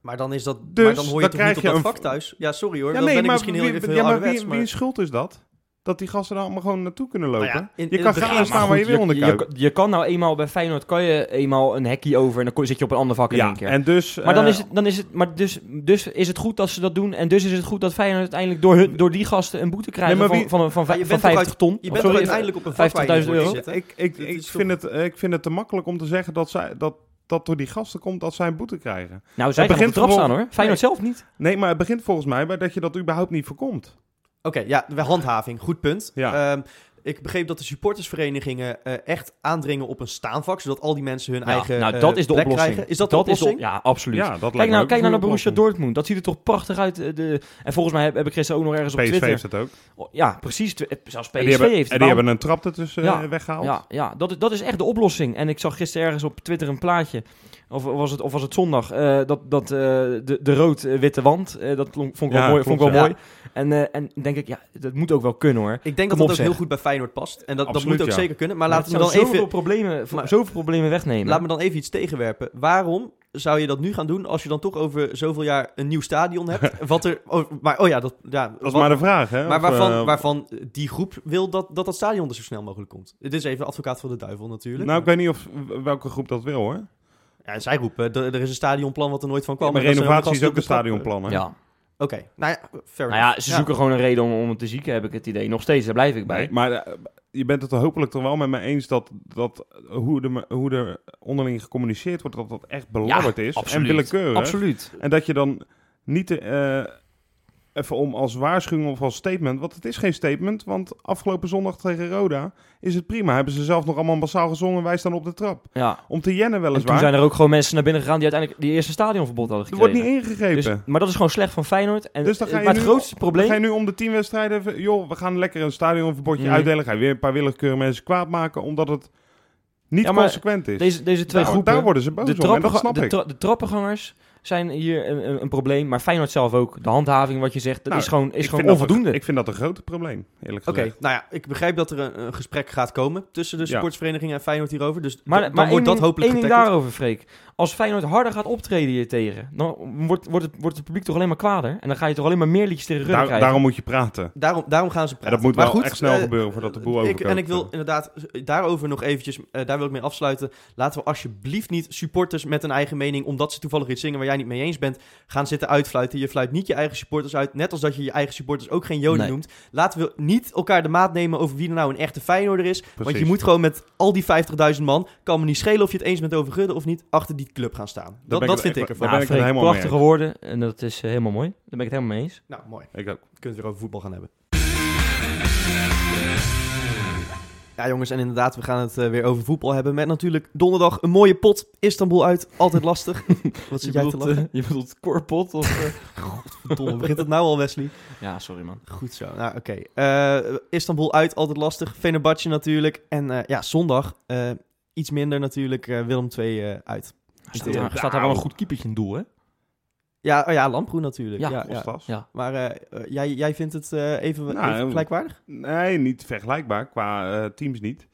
Maar dan is dat.
Dus,
maar dan hoor je
dan
toch
krijg
niet op
je
dat
een-
vak thuis. Ja, sorry hoor.
Ja,
dan
nee,
ben ik
maar
misschien heel
wie,
even
ja,
heel
maar
ouderwets.
wie,
maar-
wie schuld is dat? Dat die gasten er allemaal gewoon naartoe kunnen lopen?
Nou ja, in-
je
in
kan
het
gaan
begin-
staan
Maar
waar je
goed,
weer onder
je,
kuipt.
je kan nou eenmaal bij Feyenoord kan je eenmaal een hekje over en dan ko- zit je op een ander vak in
Ja,
één keer.
en dus...
maar dan
eh,
is het, dan is het, maar dus, dus is het goed dat ze dat doen en dus is het goed dat Feyenoord uiteindelijk door, hun- door die gasten een boete krijgt
Nee, maar
van,
wie-
van, van, van,
Maar je bent toch
50 ton.
Je
Of
bent
sorry,
toch uiteindelijk op een vak waar je
50.000
voor je
euro?
zit, hè?
Ik, ik,
Dit
ik,
is toch-
vind het, eh, ik vind het te makkelijk om te zeggen dat, zij, dat, dat door die gasten komt dat zij een boete krijgen.
Nou, zij
Het
gaan op de
begint
trap staan
vervolgens-
hoor. Feyenoord zelf niet.
Nee, maar het begint volgens mij bij dat je dat überhaupt niet voorkomt.
Oké, ja, de handhaving. Goed punt.
Ja.
Ehm, ik begreep dat de supportersverenigingen eh, echt aandringen op een staanvak, zodat al die mensen hun
Ja,
eigen
nou,
eh,
dat is de
plek
oplossing.
krijgen. Is dat, de oplossing?
Is de op- ja, absoluut.
Ja, dat lijkt
Kijk
me
nou,
ook
kijk nou
een
naar Borussia
oplossing.
Dortmund. Dat ziet er toch prachtig uit. eh, De, en volgens mij heb, heb ik gisteren ook nog ergens op
PSV
Twitter...
heeft het ook.
Oh, Ja, precies. Tw- eh, Zelfs PSV
en die hebben, en
heeft het.
die
Waarom-
hebben een trap ertussen
Ja.
eh, weggehaald.
Ja, ja dat, is- dat is echt de oplossing. En ik zag gisteren ergens op Twitter een plaatje, of was het, of was het zondag, eh, dat, dat eh, de, de rood-witte wand, eh, dat klonk- vond ik wel
Ja,
mooi. Vond ik wel
klopt,
mooi. En, eh, en denk ik, ja, dat moet ook wel kunnen hoor.
Ik denk dat
Kom
dat
op,
ook
zeg.
heel goed bij Feyenoord past. En dat, dat
Absoluut,
moet ook
ja.
zeker kunnen. Maar
Maar
laten we
het
dan
zou
even
zoveel problemen, v-
maar-
zoveel problemen wegnemen.
Laat me dan even iets tegenwerpen. Waarom zou je dat nu gaan doen als je dan toch over zoveel jaar een nieuw stadion hebt? Wat er, oh, maar oh ja, dat, ja,
Dat is
wat-
maar de vraag, hè?
maar
Of,
waarvan,
eh,
waarvan die groep wil dat, dat dat stadion er zo snel mogelijk komt. Dit is even advocaat van de duivel natuurlijk.
Nou, ik weet niet of, welke groep dat wil, hoor.
ja, zij roepen, er, er is een stadionplan wat er nooit van kwam.
maar
En dat zijn
renovatie is
gasten
ook een
op de trap.
stadionplan, hè?
ja.
Oké, nou ja, fair
Nou
enough.
ja, ze zoeken gewoon een reden om, om het te zieken, heb ik het idee. Nog steeds, daar blijf ik bij.
Nee, maar eh, je bent het er hopelijk toch wel met me eens dat, dat eh, hoe, de, hoe er onderling gecommuniceerd wordt, dat dat echt belabberd is.
absoluut.
En willekeurig.
Absoluut.
En dat je dan niet eh, even om als waarschuwing of als statement, want het is geen statement, want afgelopen zondag tegen Roda is het prima. Hebben ze zelf nog allemaal bassaal gezongen, wij staan op de trap.
Ja.
Om te jennen
En
weliswaar.
toen zijn er ook gewoon mensen naar binnen gegaan die uiteindelijk die eerste stadionverbod hadden
er
gekregen.
wordt niet ingegrepen.
Dus- maar dat is gewoon slecht van Feyenoord. En, eh,
Dus dan ga je
maar het
nu-
grootste probleem...
Ga je nu om de tien wedstrijden, even- joh, we gaan lekker een stadionverbodje
Mhm.
uitdelen. Ga je weer een paar willekeurige mensen kwaad maken, omdat het niet
Ja, maar
consequent is.
Deze, deze twee
daar,
groepen...
daar worden ze boos
de,
om, en dat
trappenga-
snap
de,
ik.
tra- de trappengangers zijn hier een, een, een probleem, maar Feyenoord zelf ook. De handhaving, wat je zegt, dat
Nou,
is gewoon, is
Ik
gewoon
vind dat
onvoldoende.
een- ik vind dat een groot probleem, eerlijk
Oké,
gezegd.
nou ja, ik begrijp dat er een, een gesprek gaat komen tussen de
Ja.
sportsverenigingen en Feyenoord hierover. Dus
maar
da- dan
maar één
wordt dat
ding-
hopelijk
één ding
getackeld.
daarover, Freek. Als Feyenoord harder gaat optreden hier tegen, dan wordt, wordt, het, wordt het publiek toch alleen maar kwader. En dan ga je toch alleen maar meer liedjes tegen de rug
Daar-
krijgen.
daarom moet je praten.
Daarom, daarom gaan ze
En
praten.
dat moet
maar
wel
goed,
echt snel
eh,
gebeuren voordat de boel
ik,
overkookt.
En ik wil inderdaad daarover nog eventjes, eh, daar wil ik mee afsluiten. Laten we alsjeblieft niet supporters met een eigen mening, omdat ze toevallig iets zingen waar jij niet mee eens bent, gaan zitten uitfluiten. Je fluit niet je eigen supporters uit, net als dat je je eigen supporters ook geen joden
Nee.
noemt. Laten we niet elkaar de maat nemen over wie er nou een echte Feyenoorder is. Want je
Precies.
moet gewoon met al die 50.000 man, kan me niet schelen of je het eens bent over Gudde of niet, achter die club gaan staan. Dat,
ben
dat
ik-
vind
ik-
ik ervan.
daar ben ik het
Nou,
helemaal
Freek,
mee
prachtige woorden en dat is eh, helemaal mooi. Daar ben ik het helemaal mee eens.
Nou, mooi.
Ik ook.
kunnen we het weer over voetbal gaan hebben. Ja, jongens, en inderdaad, we gaan het eh, weer over voetbal hebben. Met natuurlijk donderdag een mooie pot. Istanbul uit, altijd lastig. Wat zit jij te lachen?
eh, je bedoelt korpot? Of, eh?
Domme, begint het nou al, Wesley?
Ja, sorry man.
Goed zo. Nou, oké. Eh, Istanbul uit, altijd lastig. Fenerbahce natuurlijk. En eh, ja, zondag eh, iets minder natuurlijk. eh, Willem II eh, uit.
Staat daar, staat daar wel een goed keepertje in doel, hè?
Ja, oh ja, Lamproen natuurlijk. Ja,
Ja,
ja,
Kostas.
ja.
Maar eh, eh, jij, jij vindt het eh, even,
Nou,
even gelijkwaardig?
Nee, niet vergelijkbaar. Qua eh, teams niet.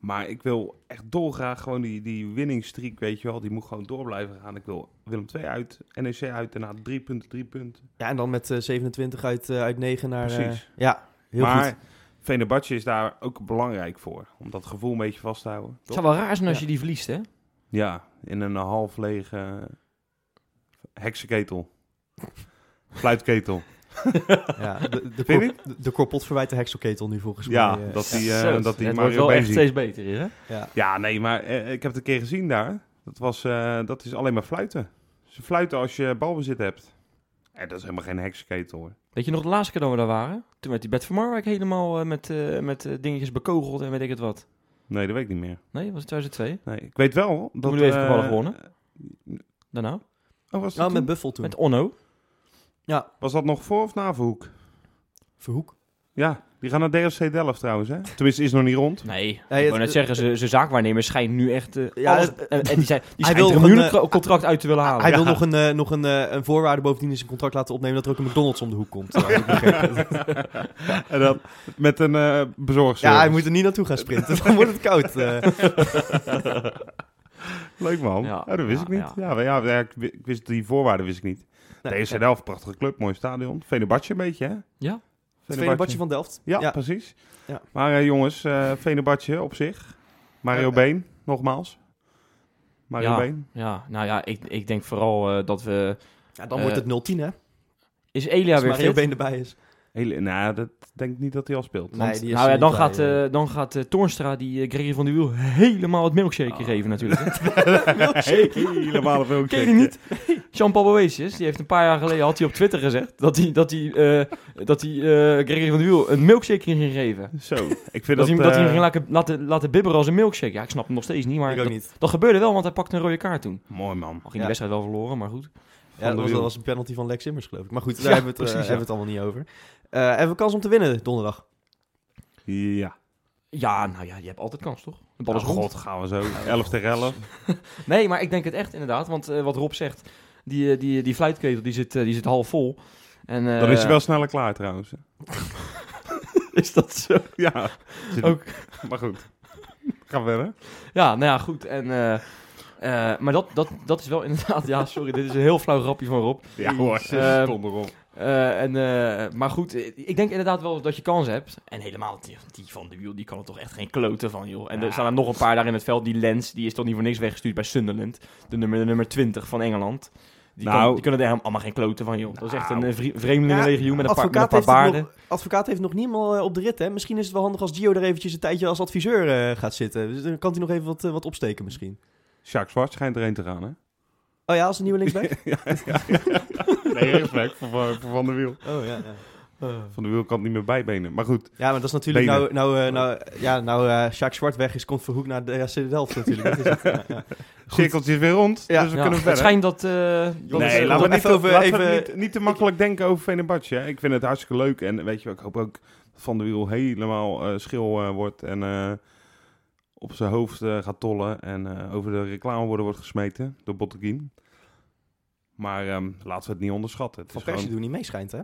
Maar ik wil echt dolgraag gewoon die, die winningstreak, weet je wel. Die moet gewoon door blijven gaan. Ik wil Willem 2 uit, NEC uit, daarna drie punten, drie punten.
Ja, en dan met eh, 27 uit, eh, uit 9 naar... eh,
Precies.
ja, heel goed.
maar Venebadje is daar ook belangrijk voor. Om dat gevoel een beetje vast te houden.
Het
toch?
zou wel raar zijn als
Ja.
je die verliest, hè?
Ja, in een half lege heksenketel. Fluitketel.
Ja, de, de,
Vind
kor- de- de korpot verwijt de hekselketel nu volgens
Ja,
mij. eh.
dat die,
Ja,
eh,
zo,
dat die
het wordt
Mario
wel echt
Benzien
steeds beter hier, hè?
Ja.
Ja, nee, maar eh, ik heb het een keer gezien daar. Dat, was, eh, dat is alleen maar fluiten. Ze fluiten als je balbezit hebt. En dat is helemaal geen heksenketel hoor.
Weet je nog de laatste keer dat we daar waren? Toen werd die Bert van Marwijk helemaal eh, met, eh, met eh, dingetjes bekogeld en weet ik het wat.
Nee, dat weet ik niet meer.
Nee, was het 2002?
Nee, ik weet wel dat...
Toen we even
eh,
voetballen gewonnen. Daarna?
Oh, was, dat
Nou, met
toen?
Buffel toen.
Met Onno.
was dat nog voor of na Verhoek?
Verhoek.
Ja, die gaan naar DFC Delft trouwens hè. Tenminste, is nog niet rond.
Nee,
het-
ik wou net zeggen, ze- zijn zaakwaarnemer schijnt nu echt eh,
Ja,
alles...
het-
en, en die zijn, die
Hij
schijnt
wil
er een
nog een, eh,
miljoenencontract uit te willen halen.
Hij wil
Ja.
nog, een, eh, nog een, eh, een voorwaarde bovendien in zijn contract laten opnemen dat er ook een McDonald's om de hoek komt. had ik begrepen.
En dat met een eh bezorgservice.
ja, hij moet er niet naartoe gaan sprinten, dan wordt het koud. eh.
Leuk man.
Ja,
Oh, dat wist
ja,
ik niet. Ja, maar ja, ja, ik wi- ik wist die voorwaarden wist ik niet.
Nee, eh,
DFC Delft, prachtige club, mooi stadion. Venebatje een beetje, hè?
Ja.
Het Venerbahce van Delft.
Ja,
Ja.
precies.
Ja.
Maar eh, jongens, eh Venebatje op zich. Mario
Ja, eh.
Been, nogmaals. Mario
Ja.
Been.
Ja, nou ja, ik, ik denk vooral eh, dat we...
Ja, dan
Eh,
wordt het 0-10 hè,
Is Elia
als
weer
Mario
fit?
Been erbij is.
Hele, nou, dat denk ik niet dat hij al speelt.
Nee, die is
nou
er
ja,
niet
dan
bij,
gaat,
eh.
eh, dan gaat eh, Toornstra die eh, Gregory van de Wiel helemaal het milkshake
Ah.
geven natuurlijk. hè.
Helemaal veel
Oh, Ken je die niet? Jean-Paul Boetius, die heeft een paar jaar geleden had hij op Twitter gezegd dat hij, dat hij, eh, dat hij eh, Gregory van de Wiel een milkshake ging geven.
Zo, ik vind
Dat,
dat...
hij, dat hij hem
eh,
ging laten, laten, laten bibberen als een milkshake. Ja, ik snap hem nog steeds niet, maar
Ik ook
dat,
niet.
dat gebeurde wel, want hij pakte een rode kaart toen.
Mooi man.
Al ging
Ja.
de wedstrijd wel verloren, maar goed.
Ja, dat was,
Wiel.
dat was een penalty van Lex Simmers geloof ik. Maar goed, daar
Ja,
hebben, we het, eh,
precies,
hebben we het allemaal niet over. Eh hebben we kans om te winnen donderdag?
Ja.
Ja, nou ja, je hebt altijd kans, toch? De bal is
Oh,
rond.
god, gaan we zo. 11 tegen 11.
Nee, maar ik denk het echt inderdaad, want eh, wat Rob zegt, die, eh, die, die fluitketel die zit, eh, die zit half vol. En, eh,
Dan is hij wel sneller klaar trouwens.
Is dat zo?
Ja. Zit-
Ook.
Maar goed. Ga verder.
Ja, nou ja, goed. En, eh, eh, maar dat, dat, dat is wel inderdaad... Ja, sorry, dit is een heel flauw grapje van Rob.
Ja hoor, ze
Eh,
stonden erop.
Eh, en, eh, maar goed, eh, ik denk inderdaad wel dat je kans hebt. En helemaal, die, die van de wiel, die kan er toch echt geen kloten van, joh. En
Ja.
er staan er nog een paar daar in het veld. Die Lens, die is toch niet voor niks weggestuurd bij Sunderland. De nummer, de nummer 20 van Engeland. Die, kan,
Nou.
die kunnen er helemaal allemaal geen kloten van, joh. Dat is echt een
Nou.
eh, vri- vreemdelingenlegioen met, een paar, met een
advocaat,
paar
heeft
baarden.
het nog, advocaat heeft het nog niet helemaal eh, op de rit hè. Misschien is het wel handig als Gio er eventjes een tijdje als adviseur eh, gaat zitten. Dus dan kan hij nog even wat, eh, wat opsteken misschien.
Jacques Zwart schijnt erheen te gaan, hè?
Oh ja, als een nieuwe linksback?
Nee, respect voor, voor voor Van der Wiel.
oh ja, ja.
Van der Wiel kan het niet meer bijbenen. Maar goed,
Ja, maar dat is natuurlijk
Benen.
nou, nou, eh, nou, ja, nou eh Jacques Zwart weg is, komt Verhoek naar de AC Delft natuurlijk. Dat is het, ja, ja.
cirkeltje is weer rond,
Ja.
dus we
Ja,
kunnen
het
verder.
schijnt dat... eh, dat
Jongens,
Nee,
is-
laten we,
even
niet, over,
over-
laten we
even-
niet, niet te makkelijk denken over Venebadje. Ik vind het hartstikke leuk. En weet je, wat, ik hoop ook dat Van der Wiel helemaal eh, schil eh, wordt en eh, op zijn hoofd eh, gaat tollen. En eh, over de reclameborden wordt gesmeten door Botteguin. Maar ehm, laten we het niet onderschatten. Het
Van
is
Persie
gewoon-
doen niet meeschijnt, hè?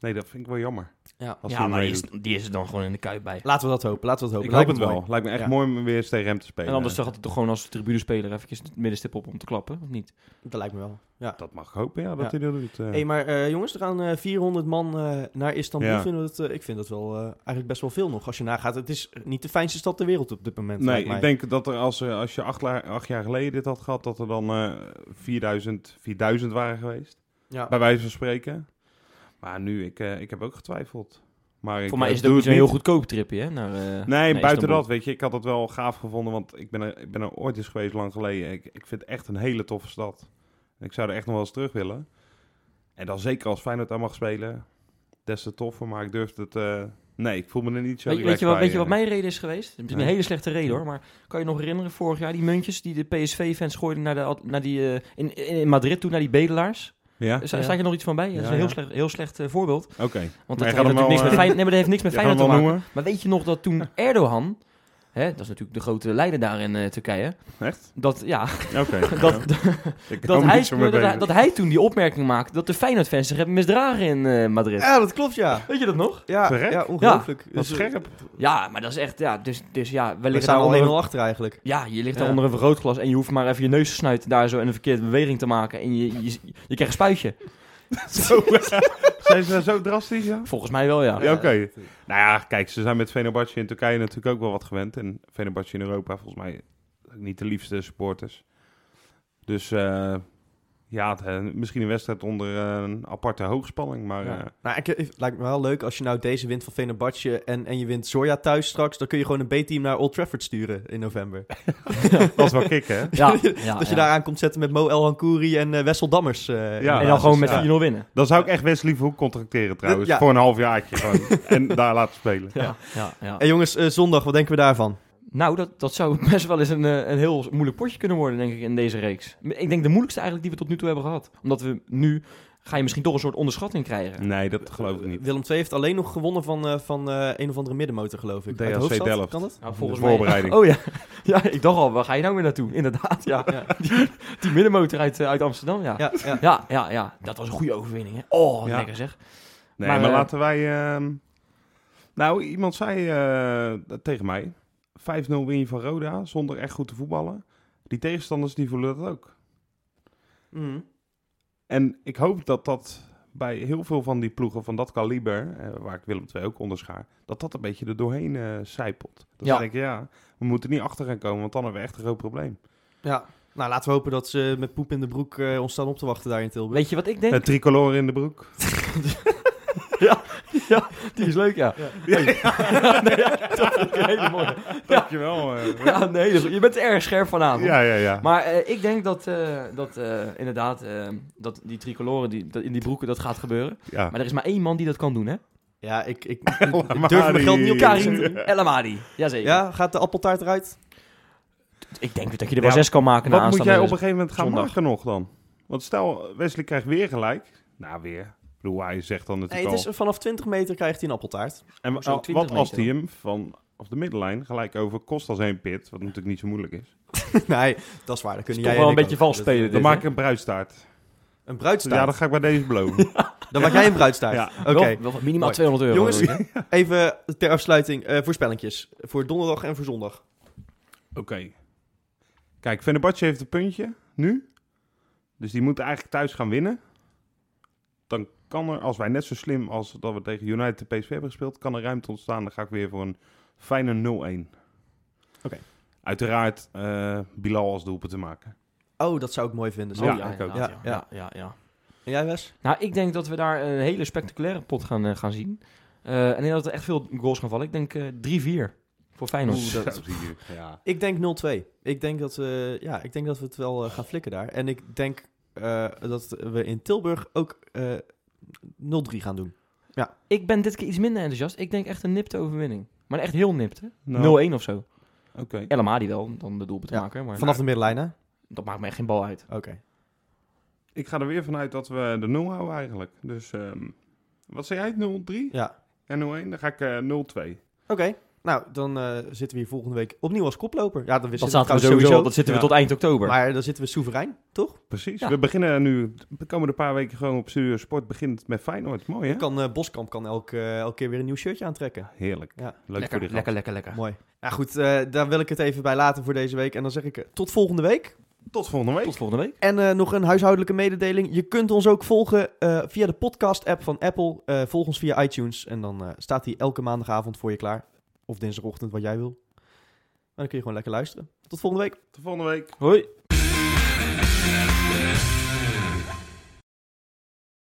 Nee, dat vind ik wel jammer.
Ja.
Als
ja,
hij
maar die
meedoet.
is, die is er dan gewoon in de kuip bij.
Laten we dat hopen, laten we dat
Ik hoop
hopen. Lijkt
het
me
wel.
mooi.
Lijkt me echt
Ja.
mooi om weer eens tegen hem te spelen.
En anders zag hij toch gewoon als tribunespeler eventjes het middenstip op om te klappen, of niet?
Dat lijkt me wel, ja.
Dat mag ik hopen, ja, dat hij
Ja.
dat doet. eh.
Hé, maar eh, jongens, er gaan eh, 400 man eh, naar Istanbul.
Ja.
Vinden we dat, eh, ik vind dat wel eh, eigenlijk best wel veel nog. Als je nagaat, het is niet de fijnste stad ter wereld op dit moment.
nee,
lijkt mij.
ik denk dat er als, eh, als je acht, la- acht jaar geleden dit had gehad, dat er dan eh 4000, 4000 waren geweest.
Ja.
Bij wijze van spreken. Maar nu, ik, eh, ik heb ook getwijfeld. Maar ik,
Voor mij
eh,
is het
doe
ook niet zo'n heel
niet.
goedkoop tripje, hè? Naar, eh,
Nee,
naar
buiten
Istanbul.
dat, weet je, ik had het wel gaaf gevonden, want ik ben er, ik ben er ooit eens geweest lang geleden. Ik, ik vind het echt een hele toffe stad. Ik zou er echt nog wel eens terug willen. En dan zeker als Feyenoord daar mag spelen, des te toffer. Maar ik durfde het... eh, nee, ik voel me er niet zo
Weet, weet
relaxed
je wat,
bij,
weet je wat
eh.
mijn reden is geweest? Het is een
Nee.
hele slechte reden hoor, maar kan je nog herinneren vorig jaar die muntjes die de PSV-fans gooiden naar de, ad- naar die, eh, in, in Madrid toen naar die bedelaars?
Ja?
Sta,
Ja.
staat je nog iets van bij? dat is
Ja,
een heel,
ja.
slecht, heel slecht eh, voorbeeld.
Oké.
Want
Maar
dat
je
heeft,
gaat hem
natuurlijk
wel,
niks met
eh,
Feyenoord, nee, maar dat heeft niks met
Je gaat hem
Feyenoord te
wel
maken.
noemen?
Maar weet je nog dat toen Erdogan, hè, dat is natuurlijk de grote leider daar in eh, Turkije,
Echt?
dat, ja,
Oké. Nou,
dat,
Ik
dat,
hou
hij,
niet zo mee
dat, hij,
bezig.
dat hij toen die opmerking maakte dat de Feyenoord-fans zich hebben misdragen in eh, Madrid.
ja, dat klopt, ja.
Weet je dat nog?
Ja,
Terecht?
ja ongelooflijk.
Wat
Dus, eh,
scherp.
Ja, maar dat is echt, ja, dus, dus ja,
We
wellicht
staan
daar
al 1-0
onder-
achter eigenlijk.
Ja, je ligt
Ja.
daar onder een vergrootglas en je hoeft maar even je neus te snuiten daar zo en een verkeerde beweging te maken en je, je, je krijgt een spuitje.
Zo, zijn ze nou zo drastisch, ja?
Volgens mij wel, ja.
Ja, oké. Nou ja, kijk, ze zijn met Fenerbahce in Turkije natuurlijk ook wel wat gewend. En Fenerbahce in Europa volgens mij ook niet de liefste supporters. Dus eh, Ja, het, eh, misschien een wedstrijd onder eh, een aparte hoogspanning, maar...
Ja.
eh,
Nou, ik, het lijkt me wel leuk als je nou deze wint van Fenerbahce en, en je wint Zorja thuis straks. Dan kun je gewoon een B-team naar Old Trafford sturen in november.
eh, dat is wel kick, hè?
Ja, ja,
dat je
ja.
daar aan komt zetten met Mo El Hankouri en eh, Wessel Dammers. eh, in de
Ja,
En dan
basis.
gewoon met
ja.
4-0 winnen.
Dan zou ik echt Wesley Verhoek contracteren trouwens.
Ja.
Voor een half jaartje gewoon. en daar laten spelen.
Ja, ja, ja.
En jongens, eh, zondag, wat denken we daarvan?
Nou, dat, dat zou best wel eens een, eh, een heel moeilijk potje kunnen worden, denk ik, in deze reeks. Ik denk de moeilijkste eigenlijk die we tot nu toe hebben gehad. Omdat we nu, ga je misschien toch een soort onderschatting krijgen.
Nee, dat geloof ik niet.
Eh, Willem II heeft alleen nog gewonnen van, eh, van eh, een of andere middenmotor, geloof ik. Uit
DHC
Hoofdstad,
Delft.
Kan dat?
Nou, volgens
De
mij-
voorbereiding.
Oh ja. ja, ik dacht al, waar ga je nou weer naartoe? Inderdaad, ja.
Ja.
Die middenmotor uit, eh, uit Amsterdam, ja. ja.
Ja, ja.
Ja, ja, Dat was een goede overwinning, hè. Oh, wat
Ja.
lekker zeg.
Nee,
Maar,
maar,
eh,
laten wij... ehm, Nou, iemand zei eh, dat tegen mij... 5-0 win je van Roda zonder echt goed te voetballen. Die tegenstanders die voelen dat ook.
Mm.
En ik hoop dat dat bij heel veel van die ploegen van dat kaliber... eh, waar ik Willem II ook onderschaar... dat dat een beetje er doorheen eh sijpelt. Dat
Ja.
ze denken, ja, we moeten niet achter gaan komen... want dan hebben we echt een groot probleem.
ja. Nou, laten we hopen dat ze met poep in de broek eh, ons staan op te wachten daar in Tilburg.
Weet je wat ik denk?
Het tricolore in de broek.
Ja, die is leuk, ja.
Ja,
Ja, nee, ja, dat is een hele mooie.
Dankjewel. eh, Rob.
Ja, nee, dat is- je bent er erg scherp vanavond.
ja, ja, ja.
Maar eh, ik denk dat, eh, dat eh, inderdaad, eh, dat die tricoloren die, dat in die broeken, dat gaat gebeuren.
ja.
Maar er is maar één man die dat kan doen, hè?
Ja, ik, ik, ik durf mijn geld niet op te
Karim.
zetten.
Karim El Amadi. Jazeker.
Ja, gaat de appeltaart eruit?
Ik denk dat je er wel
Ja,
zes kan maken na
Wat moet
aanstaande
jij op een
zes-
gegeven moment gaan
zondag.
maken nog dan? Want stel, Wesley krijgt weer gelijk. Nou, weer. Ik bedoel, hij zegt dan
Nee,
natuurlijk
het
al.
is, vanaf 20 meter krijgt hij een appeltaart.
en
zo'n
wa-
20
wat als
meter
hij hem van of de middenlijn gelijk over kost als een pit, wat natuurlijk niet zo moeilijk is.
nee, dat is waar. Dat kunnen
is toch
jij
wel
en
een
ik
beetje
ook.
vals spelen,
Dat-
Dan
Dit,
maak
hè?
ik een bruidstaart.
Een
Ja,
bruidstaart.
dat ga ik bij deze beloven.
Dan maak jij een bruidstaart.
ja.
Oké,
Wel- wel minimaal
Mooi.
200 euro.
Jongens,
geloof ik, hè?
even ter afsluiting eh voorspellingjes. Voor donderdag en voor zondag.
Oké. Kijk, Fenerbahce heeft een puntje nu. Dus die moet eigenlijk thuis gaan winnen. Dan kan er, als wij net zo slim als dat we tegen United en PSV hebben gespeeld, kan er ruimte ontstaan. Dan ga ik weer voor een fijne 0-1.
Oké.
Uiteraard eh, Bilal als doelpunt te maken.
Oh, dat zou ik mooi
Ja,
vinden. Zo.
ik ook.
inderdaad,
Ja,
ja, ja, ja.
En jij, Wes?
Nou, ik denk dat we daar een hele spectaculaire pot gaan, eh, gaan zien. Eh, en ik denk dat er echt veel goals gaan vallen. Ik denk eh 3-4 voor Feyenoord.
Oeh, dat-
Zo, zie je. Ja.
Ik denk 0-2. Ik denk dat we, ja, ik denk dat we het wel eh, gaan flikken daar. En ik denk eh, dat we in Tilburg ook eh 0-3 gaan doen.
Ik ben dit keer iets minder enthousiast. Ik denk echt een nipte overwinning. Maar echt heel nipte.
Nou,
0-1 of zo.
Oké.
El Amadi wel, dan de doelpuntenmaker. Maar
Vanaf de middenlijn, hè? Oké.
dat maakt mij echt geen bal uit.
Ik ga er weer vanuit dat we de 0 houden eigenlijk. Dus ehm, wat zei jij? 0-3
Ja.
en 0-1? Dan ga ik eh 0-2.
Oké. Nou, dan eh, zitten we hier volgende week opnieuw als koploper. Ja, dan
Dat
wisten
zaten we sowieso, dat zitten we
Ja.
tot eind oktober.
Maar dan zitten we soeverein, toch?
Precies.
Ja.
We beginnen nu de komende paar weken gewoon op Studio Sport. Begint met Feyenoord. Mooi, hè?
Kan, eh, Boskamp kan elke, elke keer weer een nieuw shirtje aantrekken.
Heerlijk.
Ja.
Leuk
lekker,
voor die
lekker,
gast.
lekker, lekker.
Mooi. Ja, goed. eh, daar wil ik het even bij laten voor deze week. En dan zeg ik eh, tot volgende week.
Tot volgende week.
Tot volgende week.
En eh, nog een huishoudelijke mededeling. Je kunt ons ook volgen eh, via de podcast-app van Apple. Eh, volg ons via iTunes. En dan eh, staat die elke maandagavond voor je klaar. Of dinsdagochtend, wat jij wil. En dan kun je gewoon lekker luisteren. Tot volgende week.
Tot volgende week.
Hoi.